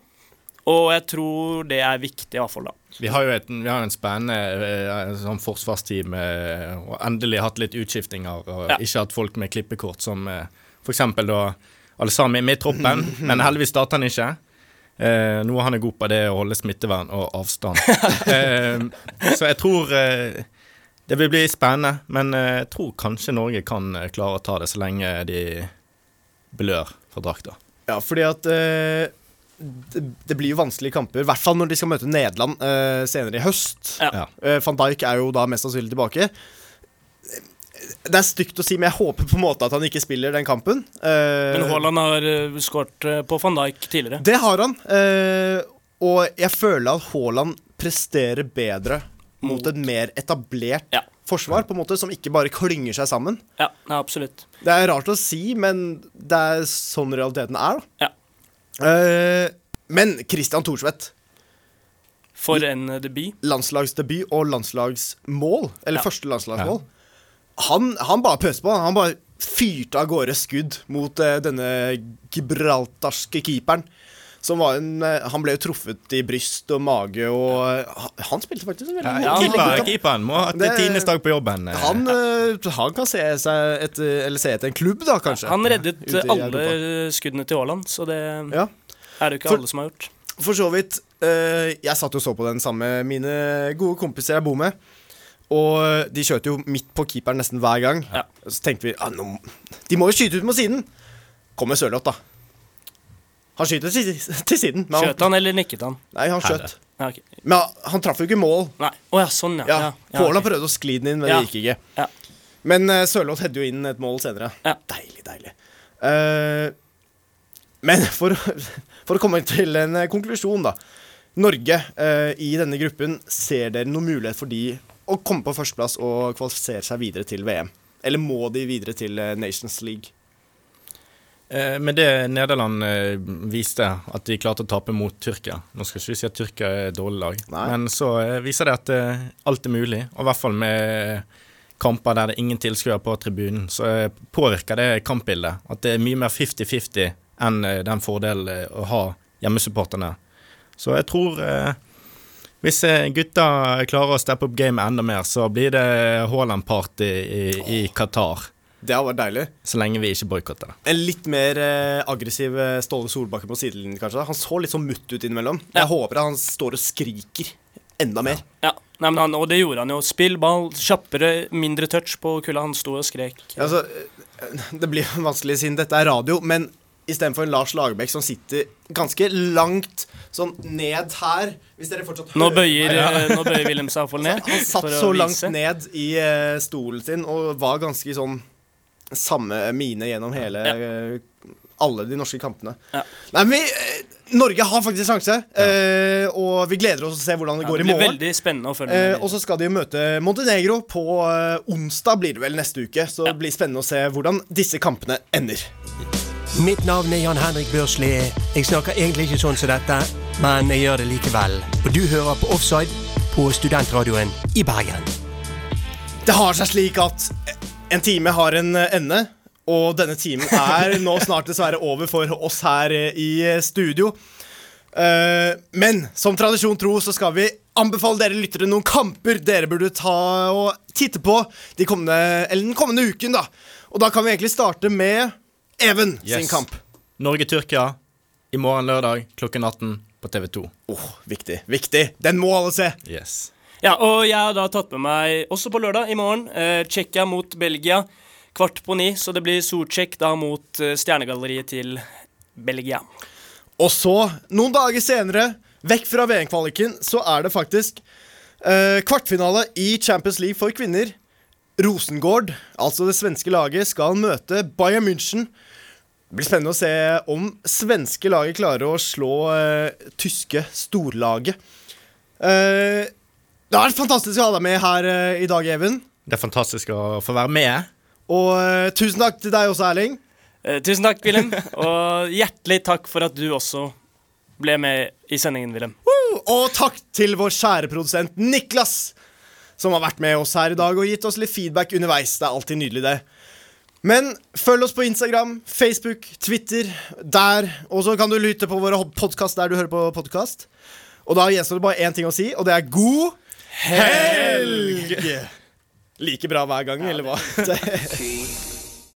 Og jeg tror det er viktig, i hvert fall, da. Vi har jo et, vi har en spennende eh, sånn forsvarsteam eh, og endelig hatt litt utskiftinger og Ja. ikke hatt folk med klippekort som eh, f.eks. da Alsami med i troppen, men heldigvis starter han ikke. Eh, noe han er god på, det er å holde smittevern og avstand. eh, så jeg tror eh, det vil bli spennende, men eh, jeg tror kanskje Norge kan eh, klare å ta det så lenge de blør fra drakta. Ja, fordi at eh, det, det blir jo vanskelige kamper, i hvert fall når de skal møte Nederland eh, senere i høst. Ja. Ja. Eh, Van Dijk er jo da mest sannsynlig tilbake. Det er stygt å si, men jeg håper på en måte at han ikke spiller den kampen. Eh, Men Haaland har uh, skåret eh, på van Dijk tidligere. Det har han. Eh, og jeg føler at Haaland presterer bedre mot, Mot. et mer etablert Ja. forsvar, på en måte, som ikke bare klynger seg sammen. Ja, ja absolutt. Det er rart å si, men det er sånn realiteten er, da. Ja. Eh, men Christian Thorsvedt. For en eh, debut. Landslagsdebut og landslagsmål. Eller Ja. første landslagsmål. Han, han bare pøste på. Han bare fyrte av gårde skudd mot eh, denne gibraltarske keeperen. Som var en, eh, han ble jo truffet i bryst og mage, og eh, han- han spilte faktisk en veldig god Ja, han legger keeper, ut av- keeperen må ha Det- tiendes dag på jobben. eh. han, eh, han kan se seg etter, eller se etter en klubb, da, kanskje. Han reddet Ute i eh, alle Europa. eh, skuddene til Haaland, så det Ja. er det jo ikke For- alle som har gjort. For så vidt. eh, jeg satt og så på den sammen med mine gode kompiser jeg bor med. Og de kjørte jo midt på keeperen nesten hver gang. Ja. Så tenkte vi ah, nå, må- de må jo skyte ut mot siden. Kommer Sørloth, da. Han skyter til, til siden. Men han, Skjøt han, eller nikket han? nei, han skjøt. Ja, ok. Men han, han traff jo ikke mål. Nei. Å ja, sånn, ja. Ja, Kålen ok. prøvde å skli den inn, men Ja. det gikk ikke. Ja. Men uh, Sørloth hedde jo inn et mål senere. Ja. Deilig, deilig. Eh, men for, å- for å komme til en eh, konklusjon, da. Norge eh, i denne gruppen, ser dere noen mulighet for de å komme på førsteplass og kvalifisere seg videre til VM? Eller må de videre til eh, Nations League? Eh, Men det Nederland eh, viste, at de klarte å tape mot Tyrkia Nå skal ikke vi si at Tyrkia er et dårlig lag, Nei. men så eh, viser det at eh, alt er mulig. Og i hvert fall med eh, kamper der det er ingen tilskuere på tribunen, så eh, påvirker det kampbildet. At det er mye mer 50-50 enn eh, den fordelen eh, å ha hjemmesupporterne. Så jeg tror eh, hvis eh, gutta klarer å steppe opp gamet enda mer, så blir det Haaland-party i, i Qatar. Det hadde vært deilig. Så lenge vi ikke boikotter det. En litt mer eh, aggressiv eh, Ståle Solbakken på sidelinjen, kanskje. Han så litt sånn mutt ut innimellom. Jeg håper at han står og skriker enda mer. Ja. Nei, men han, og det gjorde han jo. Spill ball, kjappere, mindre touch på kulda. Han sto og skrek. Ja, Altså, eh, det blir vanskelig siden dette er radio, men istedenfor en Lars Lagerbäck som sitter ganske langt sånn ned her Hvis dere fortsatt Nå hører- bøyer, eh, nå bøyer Wilhelm seg iallfall ned. Han satt for å så langt vise. ned i eh, stolen sin og var ganske sånn samme mine gjennom hele eh, alle de norske kampene. Ja. Nei, men vi, eh, Norge har faktisk sjanse, eh, og vi gleder oss til å se hvordan det Ja, går i det blir morgen. veldig spennende å følge med. Eh, og så skal de jo møte Montenegro på eh, onsdag, blir det vel neste uke. Så det blir spennende å se hvordan disse kampene ender. Mitt navn er Jan Henrik Børsli. Jeg snakker egentlig ikke sånn som dette, men jeg gjør det likevel. Og du hører på Offside på Studentradioen i Bergen. Det har seg slik at en time har en eh, ende, og denne timen er nå snart dessverre over for oss her eh, i studio. Eh, Men som tradisjon tro så skal vi anbefale dere lyttere noen kamper dere burde ta og titte på de kommende, eller den kommende uken. da Og da kan vi egentlig starte med Even sin Yes. kamp. Norge-Tyrkia i morgen lørdag klokken 18 på TV 2. Åh, viktig, viktig. Den må alle se. Yes. Ja, og jeg har da tatt med meg, også på lørdag i morgen, eh, Tsjekkia mot Belgia. Kvart på ni, så det blir Sortsjekk da mot eh, stjernegalleriet til Belgia. Og så, noen dager senere, vekk fra VM-kvaliken, så er det faktisk eh, kvartfinale i Champions League for kvinner. Rosengård, altså det svenske laget, skal møte Bayern München. Det blir spennende å se om svenske laget klarer å slå eh, tyske storlaget. Eh, det har vært fantastisk å ha deg med her eh, i dag, Even. Det er fantastisk å få være med. Og eh, tusen takk til deg også, Erling. Eh, tusen takk, Wilhelm, og hjertelig takk for at du også ble med i sendingen, Wilhelm. Og takk til vår kjære produsent Niklas, som har vært med oss her i dag og gitt oss litt feedback underveis. Det er alltid nydelig, det. Men følg oss på Instagram, Facebook, Twitter, der. Og så kan du lytte på våre podkast der du hører på podkast. Og da gjenstår det bare én ting å si, og det er god helg! Like bra hver gang, eller hva?